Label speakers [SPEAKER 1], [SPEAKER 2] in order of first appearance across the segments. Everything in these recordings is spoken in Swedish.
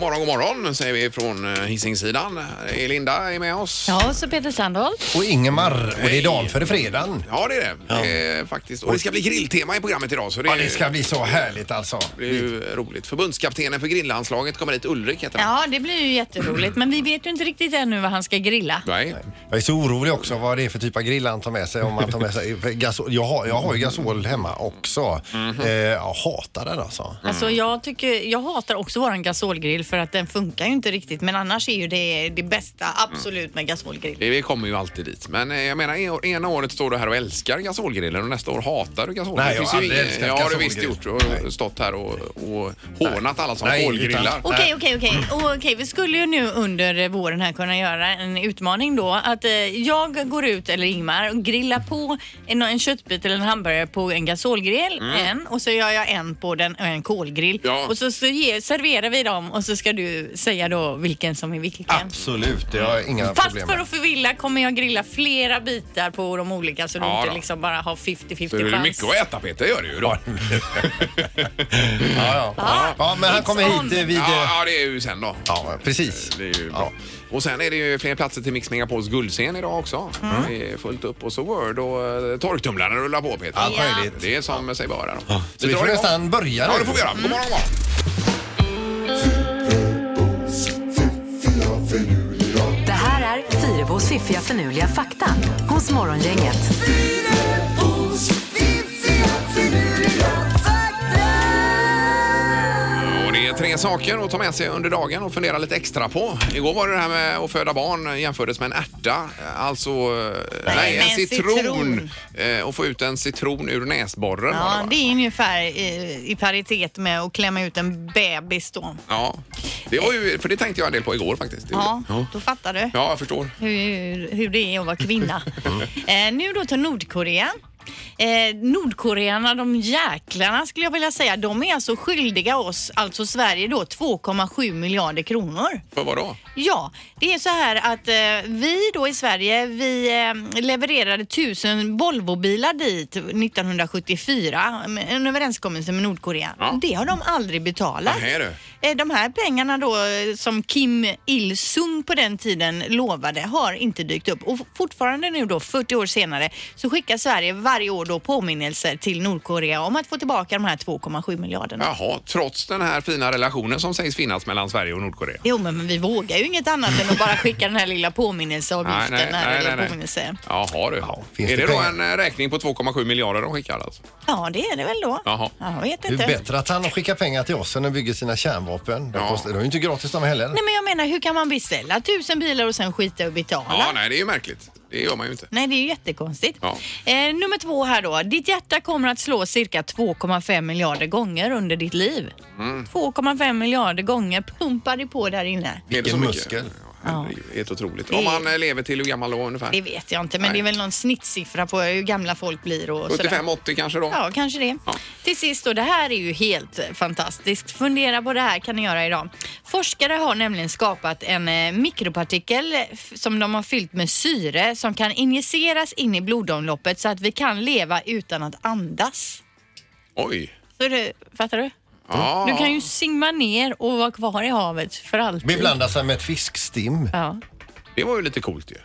[SPEAKER 1] morgon, god morgon säger vi från eh, Hisingssidan. Här är Linda är med oss.
[SPEAKER 2] Ja, så Peter Sandholt.
[SPEAKER 3] Och Ingemar. Och det är dagen före fredagen.
[SPEAKER 1] Ja, det är det. Eh, faktiskt. Och det ska bli grilltema i programmet idag. Så det,
[SPEAKER 3] Ja, det ska bli så härligt alltså.
[SPEAKER 1] det är ju roligt. Förbundskaptenen för grilllandslaget kommer hit, Ulrik heter han.
[SPEAKER 2] Ja, det blir ju jätteroligt. Men vi vet ju inte riktigt ännu vad han ska grilla.
[SPEAKER 1] Nej.
[SPEAKER 3] Jag är så orolig också vad det är för typ av grill han tar med sig. Om han tar med sig för gasol. Jag, har, jag har ju gasol hemma också.
[SPEAKER 1] Mhm.
[SPEAKER 3] eh, jag hatar den alltså.
[SPEAKER 1] Mm.
[SPEAKER 2] Alltså jag, tycker, jag hatar också våran gasolgrill för att den funkar ju inte riktigt. Men annars är ju det det bästa absolut med gasolgrill.
[SPEAKER 1] Det- Vi kommer ju alltid dit. Men eh, jag menar, en- ena året står du här och älskar gasolgrillen och nästa år hatar du gasolgrillen.
[SPEAKER 3] Nej,
[SPEAKER 1] Det
[SPEAKER 3] jag
[SPEAKER 1] finns
[SPEAKER 3] har
[SPEAKER 1] ju
[SPEAKER 3] aldrig
[SPEAKER 1] ingen-
[SPEAKER 3] älskat
[SPEAKER 1] Ja, det har du visst gjort.
[SPEAKER 3] gasolgrill.
[SPEAKER 1] Och stått här och, och hånat alla som
[SPEAKER 3] Nej,
[SPEAKER 1] kolgrillar.
[SPEAKER 3] utan-
[SPEAKER 2] Okej, okej, okej. Okej, vi skulle ju nu under eh, våren här kunna göra en utmaning då. Att eh, jag går ut, eller Ingmar, och grillar på en, en köttbit eller en hamburgare på en gasolgrill, en, och så gör jag en på den, en kolgrill.
[SPEAKER 1] Mm. Ja.
[SPEAKER 2] Och så, så ge, serverar vi dem och så ska du säga då vilken som är vilken.
[SPEAKER 3] Absolut, det har jag inga
[SPEAKER 2] Fast
[SPEAKER 3] problem
[SPEAKER 2] för
[SPEAKER 3] med.
[SPEAKER 2] att förvilla kommer jag grilla flera bitar på de olika så du
[SPEAKER 1] Ja, då.
[SPEAKER 2] inte liksom bara har 50-50
[SPEAKER 1] Så det är
[SPEAKER 2] chans.
[SPEAKER 1] mycket att äta Peter, gör det ju då.
[SPEAKER 3] Ja, ja. ja, men han
[SPEAKER 2] It's
[SPEAKER 3] kommer
[SPEAKER 2] on.
[SPEAKER 3] hit eh, vid...
[SPEAKER 1] Ja,
[SPEAKER 3] eh,
[SPEAKER 1] ja, det är ju sen då.
[SPEAKER 3] Ja, precis.
[SPEAKER 1] Det är ju bra. Och sen är det ju fler platser till Mix Megapols guldscen idag också. Det är fullt upp och så Word och eh, torktumlaren rullar på Peter.
[SPEAKER 3] Allt möjligt.
[SPEAKER 1] Det är som sig bör. då.
[SPEAKER 3] Så vi
[SPEAKER 1] drar
[SPEAKER 3] får
[SPEAKER 1] igång.
[SPEAKER 3] nästan börja
[SPEAKER 1] Ja,
[SPEAKER 3] nu.
[SPEAKER 1] det får vi göra. God morgon, god morgon.
[SPEAKER 4] Det här är Fyrabos fiffiga förnuliga fakta hos Morgongänget.
[SPEAKER 1] Och det är tre saker att ta med sig under dagen och fundera lite extra på. Igår var det det här med att föda barn jämfördes med en ärta. Alltså, nej, nej
[SPEAKER 2] med
[SPEAKER 1] en
[SPEAKER 2] en
[SPEAKER 1] citron.
[SPEAKER 2] citron.
[SPEAKER 1] Eh, Och få ut en citron ur näsborren. var
[SPEAKER 2] Ja,
[SPEAKER 1] va?
[SPEAKER 2] det är ungefär i, i paritet med att klämma ut en bebis då.
[SPEAKER 1] ja. Det var ju, för det tänkte jag en del på igår faktiskt. Det
[SPEAKER 2] Ja,
[SPEAKER 1] gjorde jag.
[SPEAKER 2] då fattar du
[SPEAKER 1] ja jag förstår.
[SPEAKER 2] hur, hur det är att vara kvinna. eh, nu då till Nordkorea. Eh, Nordkorearna, de jäklarna skulle jag vilja säga, de är alltså skyldiga oss, alltså Sverige då, 2,7 miljarder kronor.
[SPEAKER 1] För vadå?
[SPEAKER 2] Ja, det är så här att eh, vi då i Sverige, vi eh, levererade tusen Volvobilar dit 1974, med en överenskommelse med Nordkorea.
[SPEAKER 1] Ja.
[SPEAKER 2] Det har de aldrig betalat.
[SPEAKER 1] Vad är det?
[SPEAKER 2] Eh, De här pengarna då eh, som Kim Il-Sung på den tiden lovade har inte dykt upp och f- fortfarande nu då 40 år senare så skickar Sverige varje år då påminnelser till Nordkorea om att få tillbaka de här 2,7 miljarderna.
[SPEAKER 1] Jaha, trots den här fina relationen som sägs finnas mellan Sverige och Nordkorea.
[SPEAKER 2] Jo, men men vi vågar ju inget annat än att bara skicka den här lilla påminnelseavgiften. här, eller påminnelse.
[SPEAKER 1] Jaha du.
[SPEAKER 3] finns
[SPEAKER 1] är det,
[SPEAKER 3] det
[SPEAKER 1] då
[SPEAKER 3] pengar?
[SPEAKER 1] en eh, räkning på 2,7 miljarder de skickar alltså?
[SPEAKER 2] Ja, det är det väl då.
[SPEAKER 1] Jaha.
[SPEAKER 2] Ja, Jag vet
[SPEAKER 3] Det
[SPEAKER 2] inte.
[SPEAKER 3] är bättre att han skickar pengar till oss än att bygga sina kärnvapen. De,
[SPEAKER 1] Ja.
[SPEAKER 3] kostar, de är ju inte gratis de heller.
[SPEAKER 2] Nej, men jag menar, hur kan man beställa tusen bilar och sen skita och betala?
[SPEAKER 1] Ja, nej det är ju märkligt. Det gör man ju inte.
[SPEAKER 2] Nej, det är ju jättekonstigt.
[SPEAKER 1] Ja.
[SPEAKER 2] Eh, nummer två här då. Ditt hjärta kommer att slå cirka 2,5 miljarder gånger under ditt liv.
[SPEAKER 1] Mm.
[SPEAKER 2] 2,5 miljarder gånger pumpar det på där inne.
[SPEAKER 1] Är det så
[SPEAKER 3] Vilken
[SPEAKER 1] mycket?
[SPEAKER 3] muskel.
[SPEAKER 1] Ja, det är ju helt otroligt.
[SPEAKER 2] Det-
[SPEAKER 1] Om man eh, lever till hur gammal då ungefär?
[SPEAKER 2] Det vet jag inte, men
[SPEAKER 1] Nej.
[SPEAKER 2] det är väl någon snittsiffra på hur gamla folk blir och sådär.
[SPEAKER 1] 75-80 kanske då?
[SPEAKER 2] Ja, kanske det.
[SPEAKER 1] Ja.
[SPEAKER 2] Till sist då, det här är ju helt fantastiskt. Fundera på det här kan ni göra idag. Forskare har nämligen skapat en eh, mikropartikel f- som de har fyllt med syre som kan injiceras in i blodomloppet så att vi kan leva utan att andas.
[SPEAKER 1] Oj.
[SPEAKER 2] Så du, fattar du?
[SPEAKER 1] Ja.
[SPEAKER 2] Du kan ju simma ner och vara kvar i havet för alltid.
[SPEAKER 3] Beblanda sig med ett fiskstim.
[SPEAKER 2] Ja.
[SPEAKER 1] Det var ju lite coolt ju.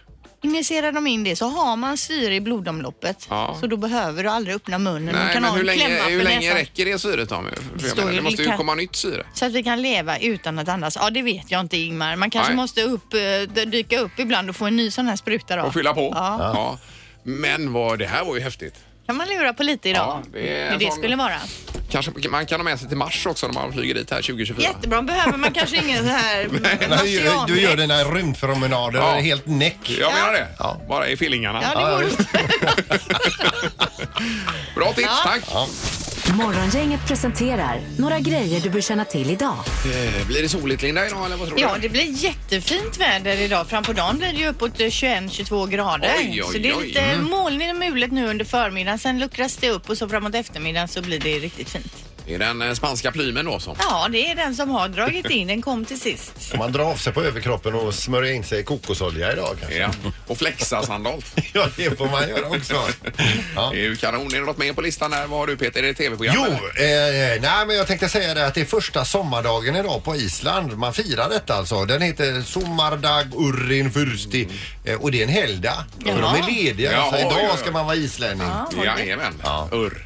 [SPEAKER 2] Injicerar de in det så har man syre i blodomloppet
[SPEAKER 1] Ja.
[SPEAKER 2] så då behöver du aldrig öppna munnen. du
[SPEAKER 1] Nej,
[SPEAKER 2] kan
[SPEAKER 1] men
[SPEAKER 2] ha
[SPEAKER 1] hur
[SPEAKER 2] en klämma
[SPEAKER 1] länge,
[SPEAKER 2] för
[SPEAKER 1] hur länge
[SPEAKER 2] näsan.
[SPEAKER 1] räcker det syret då? För jag
[SPEAKER 2] Står
[SPEAKER 1] menar, det
[SPEAKER 2] ju-
[SPEAKER 1] måste ju
[SPEAKER 2] kan-
[SPEAKER 1] komma nytt syre.
[SPEAKER 2] Så att vi kan leva utan att andas? Ja, det vet jag inte Ingmar. Man kanske
[SPEAKER 1] Nej.
[SPEAKER 2] måste upp, eh, d- dyka upp ibland och få en ny sån här spruta då.
[SPEAKER 1] Och fylla på.
[SPEAKER 2] Ja.
[SPEAKER 1] Ja. Men vad, det här var ju häftigt.
[SPEAKER 2] kan man lura på lite idag.
[SPEAKER 1] Ja, det är en
[SPEAKER 2] Hur det
[SPEAKER 1] sån-
[SPEAKER 2] skulle vara.
[SPEAKER 1] Kanske man kan ha med sig till Mars också när man flyger dit här 2024.
[SPEAKER 2] Jättebra, behöver man kanske ingen så här
[SPEAKER 3] Nej, du gör- Du gör
[SPEAKER 2] det.
[SPEAKER 3] dina rymdpromenader
[SPEAKER 1] Ja.
[SPEAKER 3] och är helt näck.
[SPEAKER 1] Jag menar det.
[SPEAKER 3] Ja.
[SPEAKER 1] Bara i fillingarna.
[SPEAKER 2] Ja, det går
[SPEAKER 1] Bra tips, tack.
[SPEAKER 4] Morgongänget presenterar några grejer du bör känna till idag.
[SPEAKER 1] Eh, Blir det soligt Linda idag eller vad tror
[SPEAKER 2] Ja,
[SPEAKER 1] du?
[SPEAKER 2] det blir jättefint väder idag. Fram på dagen blir det ju uppåt eh, 21-22 grader.
[SPEAKER 1] Oj, oj,
[SPEAKER 2] så det är
[SPEAKER 1] oj.
[SPEAKER 2] lite
[SPEAKER 1] Mm.
[SPEAKER 2] molnigt och mulet nu under förmiddagen. Sen luckras det upp och så framåt eftermiddagen så blir det riktigt fint.
[SPEAKER 1] Det är den eh, spanska plymen då som...
[SPEAKER 2] Ja, det är den som har dragit in. Den kom till sist.
[SPEAKER 3] Om man drar av sig på överkroppen och smörjer in sig i kokosolja idag kanske.
[SPEAKER 1] Ja. Och flexasandal.
[SPEAKER 3] Ja, det får man göra också. Ja.
[SPEAKER 1] Det är ju kanon. Är det något mer på listan där? Vad har du Peter? Är det tv-program?
[SPEAKER 3] Jo,
[SPEAKER 1] eller?
[SPEAKER 3] eh, nej men jag tänkte säga det att det är första sommardagen idag på Island. Man firar detta alltså. Den heter Sommardag Urrin Fursti eh, och det är en helgdag.
[SPEAKER 2] Jaha.
[SPEAKER 3] För de är lediga.
[SPEAKER 1] Jaha,
[SPEAKER 3] så idag
[SPEAKER 1] ja, ja.
[SPEAKER 3] ska man vara islänning.
[SPEAKER 1] Jajamän.
[SPEAKER 3] Ja.
[SPEAKER 1] Urr.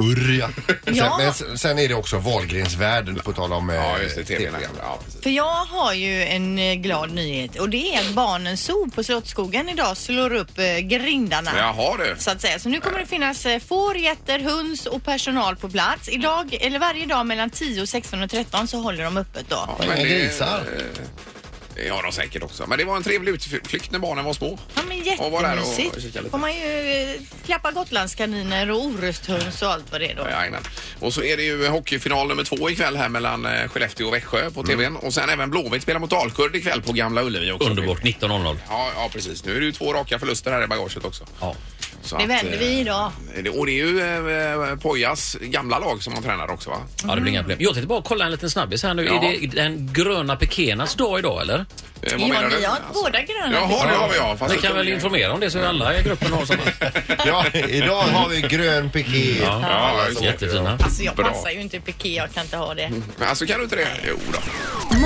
[SPEAKER 3] Urr ja. Sen,
[SPEAKER 2] Ja.
[SPEAKER 3] Men sen, sen är det också Wahlgrens värld på tal om eh,
[SPEAKER 1] Ja, just det. Tv.
[SPEAKER 3] TV-program.
[SPEAKER 1] Ja, precis.
[SPEAKER 2] För jag har ju en eh, glad nyhet och det är att Barnens zoo på Slottsskogen idag slår upp eh, grindarna.
[SPEAKER 1] Jaha du.
[SPEAKER 2] Så att säga. Så nu kommer det finnas eh, får, getter, höns och personal på plats. Idag, eller varje dag mellan 10 och 16 och 13 så håller de öppet då.
[SPEAKER 1] Ja, men
[SPEAKER 3] Inga
[SPEAKER 1] det-
[SPEAKER 3] grisar.
[SPEAKER 1] eh, Det har de säkert också. Men det var en trevlig utflykt när barnen var små.
[SPEAKER 2] Ja men
[SPEAKER 1] Och var där och
[SPEAKER 2] jättemysigt.
[SPEAKER 1] kika lite.
[SPEAKER 2] Får man ju eh, klappa gotlandskaniner och orusthöns och allt vad det är då.
[SPEAKER 1] Jajamän. Och så är det ju hockeyfinal nummer två ikväll här mellan eh, Skellefteå och Växjö på TVn. Och sen även Blåvitt spelar mot Dalkurd ikväll på Gamla Ullevi också.
[SPEAKER 5] Mm. Underbart, 19.00.
[SPEAKER 1] Ja, ja, precis. Nu är det ju två raka förluster här i bagaget också.
[SPEAKER 5] Ja.
[SPEAKER 1] Så
[SPEAKER 2] Det
[SPEAKER 1] att,
[SPEAKER 2] vänder vi
[SPEAKER 1] eh,
[SPEAKER 2] idag.
[SPEAKER 1] det- Och det är ju eh, Pojas gamla lag som han tränar också va?
[SPEAKER 5] ja, det blir inga problem. Jag tänkte bara kolla en liten snabbis här nu.
[SPEAKER 1] Ja.
[SPEAKER 5] Är det den gröna pekenas dag idag eller?
[SPEAKER 1] Eh, vad
[SPEAKER 2] Ja,
[SPEAKER 1] menar
[SPEAKER 2] ni
[SPEAKER 1] du?
[SPEAKER 2] har båda gröna
[SPEAKER 1] Jaha, det har vi ja. Fast
[SPEAKER 5] Ni kan
[SPEAKER 1] inte-
[SPEAKER 5] väl informera om det så vi alla i gruppen har sådana.
[SPEAKER 3] Ja, idag har vi grön piké.
[SPEAKER 1] Ja, just det.
[SPEAKER 5] Jättefina.
[SPEAKER 2] Alltså jag
[SPEAKER 1] Bra.
[SPEAKER 2] passar ju inte i piké, jag kan inte ha det.
[SPEAKER 1] Men Alltså kan du inte det? Jo då.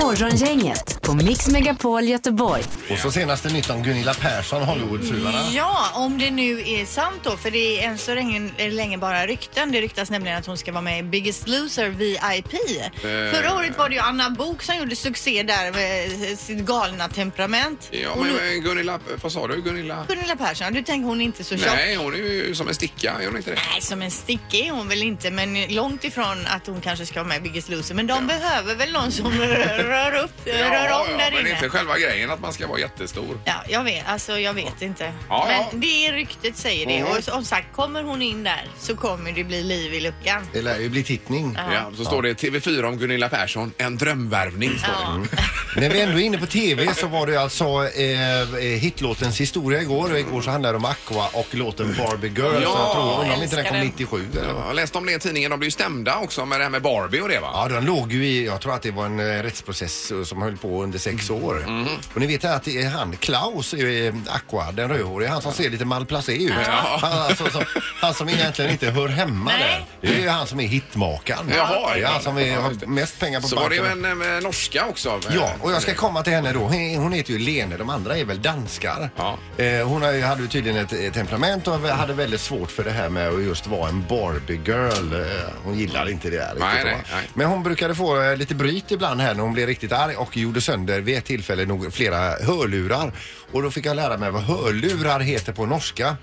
[SPEAKER 4] Morgongänget på Mix Megapol Göteborg.
[SPEAKER 3] Och så senaste nytt om Gunilla Persson, Hollywoodfruarna.
[SPEAKER 2] Ja, om det nu är sant då, för det är än så länge, eller länge bara rykten. Det ryktas nämligen att hon ska vara med i Biggest Loser VIP.
[SPEAKER 1] Eh.
[SPEAKER 2] Förra året var det ju Anna Bok som gjorde succé där med eh, sitt galna temperament.
[SPEAKER 1] Ja,
[SPEAKER 2] och
[SPEAKER 1] men
[SPEAKER 2] nu,
[SPEAKER 1] eh, Gunilla, vad sa du? Gunilla?
[SPEAKER 2] Gunilla Persson, du tänker hon är inte så tjock? Nej.
[SPEAKER 1] Nej, hon är ju som en sticka, är hon inte det?
[SPEAKER 2] som en sticka är hon väl inte, men långt ifrån att hon kanske ska vara med i Biggest Loser. Men de behöver väl någon som rör, rör upp, rör
[SPEAKER 1] men
[SPEAKER 2] om där
[SPEAKER 1] det är
[SPEAKER 2] inne.
[SPEAKER 1] inte själva grejen att man ska vara jättestor.
[SPEAKER 2] Ja, jag vet, alltså jag vet inte.
[SPEAKER 1] Ja,
[SPEAKER 2] men
[SPEAKER 1] ja.
[SPEAKER 2] det är ryktet säger det.
[SPEAKER 1] Mm.
[SPEAKER 2] Och som sagt, kommer hon in där så kommer det bli liv i luckan.
[SPEAKER 3] Det lär ju bli tittning.
[SPEAKER 1] Ja. så står det TV4 om Gunilla Persson, en drömvärvning. Står det.
[SPEAKER 2] Ja.
[SPEAKER 3] När vi ändå är inne på TV så var det alltså eh, eh, hitlåtens historia igår och igår så handlade det om Aqua och låten Barbie Girl.
[SPEAKER 1] Ja,
[SPEAKER 3] så jag tror, undrar om inte
[SPEAKER 2] älskar
[SPEAKER 3] den kom
[SPEAKER 2] den.
[SPEAKER 3] 97 eller
[SPEAKER 1] Ja,
[SPEAKER 3] vad.
[SPEAKER 1] Jag läste om det i tidningen, de blev ju stämda också med det här med Barbie och det va?
[SPEAKER 3] Ja, den låg ju i, jag tror att det var en eh, rättsprocess eh, som höll på under sex
[SPEAKER 1] Mm.
[SPEAKER 3] år. Och ni vet att det är han, Klaus, eh, Aqua, den rödhårige, han som ser lite malplacé ut. Han, alltså, som, han som egentligen inte hör hemma
[SPEAKER 2] Nej.
[SPEAKER 3] där. Det är ju han som är hitmakaren.
[SPEAKER 1] Jaha,
[SPEAKER 3] det är
[SPEAKER 1] ja.
[SPEAKER 3] han som är,
[SPEAKER 1] Ja, just
[SPEAKER 3] har mest pengar på
[SPEAKER 1] Så var det
[SPEAKER 3] banken.
[SPEAKER 1] ju en eh, norska också.
[SPEAKER 3] Ja, och jag
[SPEAKER 1] eh,
[SPEAKER 3] ska komma till henne då. Hon hon heter ju Lene, de andra är väl danskar.
[SPEAKER 1] Ja.
[SPEAKER 3] Eh, Hon har ju- hade ju tydligen ett eh, temperament och hade väldigt svårt för det här med att just vara en Barbie-girl. Eh, Hon gillar inte det där
[SPEAKER 1] Nej,
[SPEAKER 3] va?
[SPEAKER 1] nej, nej.
[SPEAKER 3] Men hon brukade få eh, lite bryt ibland här när hon blev riktigt arg och gjorde sönder vid ett tillfälle nog flera hörlurar. Och då fick jag lära mig vad hörlurar heter på norska.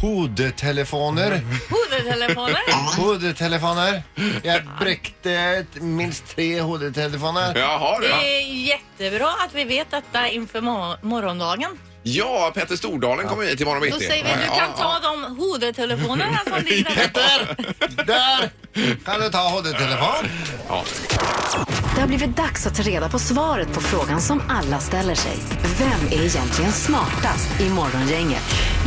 [SPEAKER 3] Hodetelefoner.
[SPEAKER 1] Mm.
[SPEAKER 2] Hodertelefoner!
[SPEAKER 3] Hodetelefoner. Jag bräckte ett- minst tre hodetelefoner.
[SPEAKER 1] Jaha,
[SPEAKER 2] Det
[SPEAKER 1] du.
[SPEAKER 2] är jättebra att vi vet detta inför mor- morgondagen.
[SPEAKER 1] Ja, Petter Stordalen kommer hit imorgon
[SPEAKER 2] Då
[SPEAKER 1] bitti.
[SPEAKER 2] säger vi att du
[SPEAKER 1] Ja,
[SPEAKER 2] kan ta
[SPEAKER 1] ja.
[SPEAKER 2] de hodertelefonerna från din Petter!
[SPEAKER 3] Där kan du ta hoddetelefon.
[SPEAKER 1] Ja.
[SPEAKER 4] Det har blivit dags att ta reda på svaret på frågan som alla ställer sig. Vem är egentligen smartast i Morgongänget?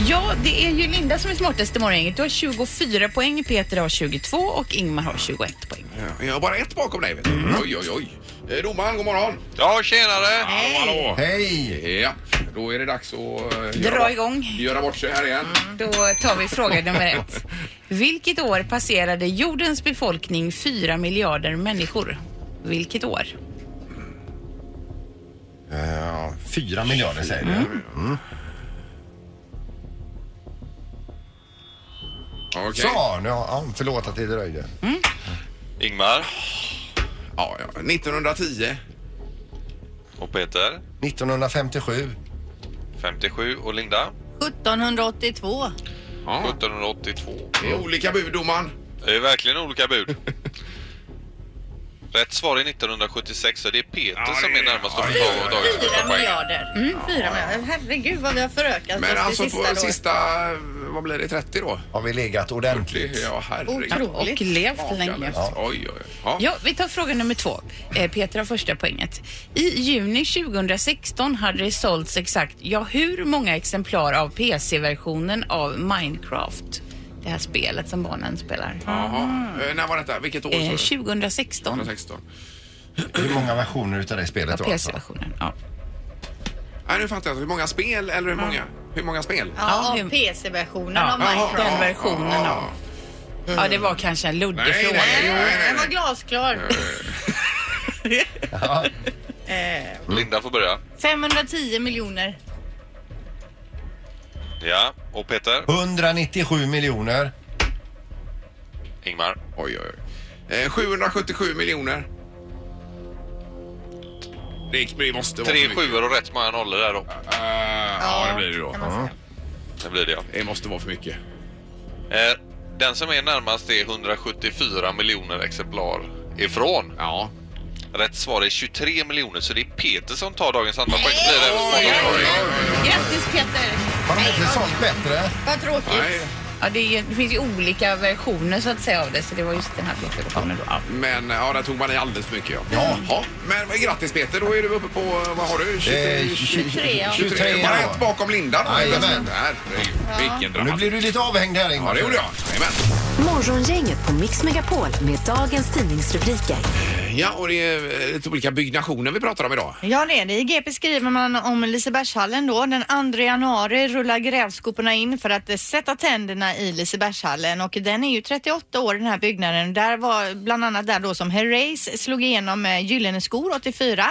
[SPEAKER 6] Ja, det är ju Linda som är smartast i morgongänget. Du har 24 poäng, Peter har 22 och Ingmar har 21 poäng.
[SPEAKER 1] Ja, Jag har bara ett bakom dig. Vet du.
[SPEAKER 3] Mm.
[SPEAKER 1] Oj, oj, oj. Eh, Domaren, god morgon.
[SPEAKER 7] Ja, tjenare!
[SPEAKER 1] Hallå, hallå.
[SPEAKER 3] Hej!
[SPEAKER 1] Ja, då är det dags att eh,
[SPEAKER 6] Dra
[SPEAKER 1] göra bort-
[SPEAKER 6] igång.
[SPEAKER 1] Göra bort sig här igen.
[SPEAKER 6] Då tar vi fråga nummer ett. Vilket år passerade jordens befolkning 4 miljarder människor? Vilket år?
[SPEAKER 3] Ja, fyra miljarder säger du.
[SPEAKER 2] Mm.
[SPEAKER 1] Okej.
[SPEAKER 3] Så, nu, ja, förlåt att det dröjde.
[SPEAKER 7] Ingmar
[SPEAKER 1] Ja, ja. 1910.
[SPEAKER 7] och Peter,
[SPEAKER 3] 1957.
[SPEAKER 7] 57 och Linda,
[SPEAKER 2] 1782.
[SPEAKER 1] Ja.
[SPEAKER 7] 1782.
[SPEAKER 1] Det är olika bud, domaren.
[SPEAKER 7] Det är verkligen olika bud. Rätt svar är 1976 så det är Peter
[SPEAKER 1] Ja,
[SPEAKER 7] som
[SPEAKER 1] det är-
[SPEAKER 7] är närmast att
[SPEAKER 1] ja,
[SPEAKER 7] få
[SPEAKER 1] det är-
[SPEAKER 7] ta dagens första
[SPEAKER 2] 4
[SPEAKER 7] poäng.
[SPEAKER 2] miljarder. Mm, 4 miljarder. Herregud vad vi har förökat
[SPEAKER 1] Men
[SPEAKER 2] oss
[SPEAKER 1] alltså
[SPEAKER 2] det
[SPEAKER 1] på
[SPEAKER 2] sista, sista
[SPEAKER 1] sista, vad blir det, 30 då?
[SPEAKER 3] Har vi legat
[SPEAKER 1] Det,
[SPEAKER 3] ordentligt?
[SPEAKER 1] ja, herregud.
[SPEAKER 6] Och
[SPEAKER 2] Otroligt.
[SPEAKER 6] levt länge.
[SPEAKER 1] Ja. Oj, oj, oj. Ja.
[SPEAKER 6] Ja, vi tar fråga nummer två. Eh, Peter har första poänget. I juni 2016 hade det sålts exakt, ja hur många exemplar av PC-versionen av Minecraft? det här spelet som barnen spelar.
[SPEAKER 1] Jaha. Eh, När var detta? Vilket år? sa
[SPEAKER 6] Eh,
[SPEAKER 1] du?
[SPEAKER 6] 2016
[SPEAKER 1] 2016.
[SPEAKER 3] Hur många versioner utav det
[SPEAKER 6] var
[SPEAKER 3] spelet var alltså?
[SPEAKER 6] PC-versionen. Ja.
[SPEAKER 1] Nej, nu fattar jag. Hur många spel eller hur många? Hur många spel?
[SPEAKER 2] Ja,
[SPEAKER 6] Ja,
[SPEAKER 2] av PC-versionen
[SPEAKER 6] Ja.
[SPEAKER 2] av
[SPEAKER 6] Jaha.
[SPEAKER 2] Minecraft.
[SPEAKER 6] Den versionen,
[SPEAKER 1] ja.
[SPEAKER 6] ja. ja, det var kanske en luddig
[SPEAKER 1] Nej,
[SPEAKER 6] fråga.
[SPEAKER 1] nej, nej.
[SPEAKER 2] Den var glasklar.
[SPEAKER 3] Ja.
[SPEAKER 7] Linda får börja.
[SPEAKER 2] 510 miljoner.
[SPEAKER 7] Ja, och Peter?
[SPEAKER 3] 197 miljoner.
[SPEAKER 7] Ingmar?
[SPEAKER 1] Oj, oj, oj. Eh, 777 miljoner. Det, det måste vara
[SPEAKER 7] Tre
[SPEAKER 1] för mycket.
[SPEAKER 7] sjuor och rätt många nollor där då.
[SPEAKER 1] Eh, ja, det blir det då.
[SPEAKER 2] kan man säga.
[SPEAKER 7] Det blir det ja.
[SPEAKER 1] Det måste vara för mycket.
[SPEAKER 7] Eh, Den som är närmast är 174 miljoner exemplar ifrån.
[SPEAKER 1] Ja.
[SPEAKER 7] Rätt svar är 23 miljoner så det är Peter som tar dagens andra poäng. Det blir det även småningom.
[SPEAKER 6] Grattis Peter!
[SPEAKER 3] Har de inte sålt bättre?
[SPEAKER 2] Vad tråkigt.
[SPEAKER 1] Nej,
[SPEAKER 6] Ja, det, är, ju- det finns ju olika versioner så att säga av det så det var just den här Peter-versionen då. Ja.
[SPEAKER 1] men ja, där tog man i alldeles för mycket. Ja. Jaha. Men men grattis Peter, då är du uppe på, vad har du? 23?
[SPEAKER 3] Eh,
[SPEAKER 2] 23, ja.
[SPEAKER 1] 23
[SPEAKER 3] ja.
[SPEAKER 1] bara ett bakom Linda då.
[SPEAKER 3] Jajamän.
[SPEAKER 1] Herregud, Vilken
[SPEAKER 3] Nu
[SPEAKER 1] dramatik.
[SPEAKER 3] blir du lite avhängd här Ingmar.
[SPEAKER 1] Ja, det gjorde jag. Jajamän.
[SPEAKER 4] Morgongänget på Mix Megapol med dagens tidningsrubriker.
[SPEAKER 1] Ja, och det är eh, lite olika byggnationer vi pratar om idag.
[SPEAKER 2] Ja, det är det. I GP skriver man om Lisebergshallen då. Den 2 januari rullar grävskoporna in för att eh, sätta tänderna i Lisebergshallen och den är ju 38 år den här byggnaden. Där var bland annat där då som Herreys slog igenom eh, Gyllene skor 84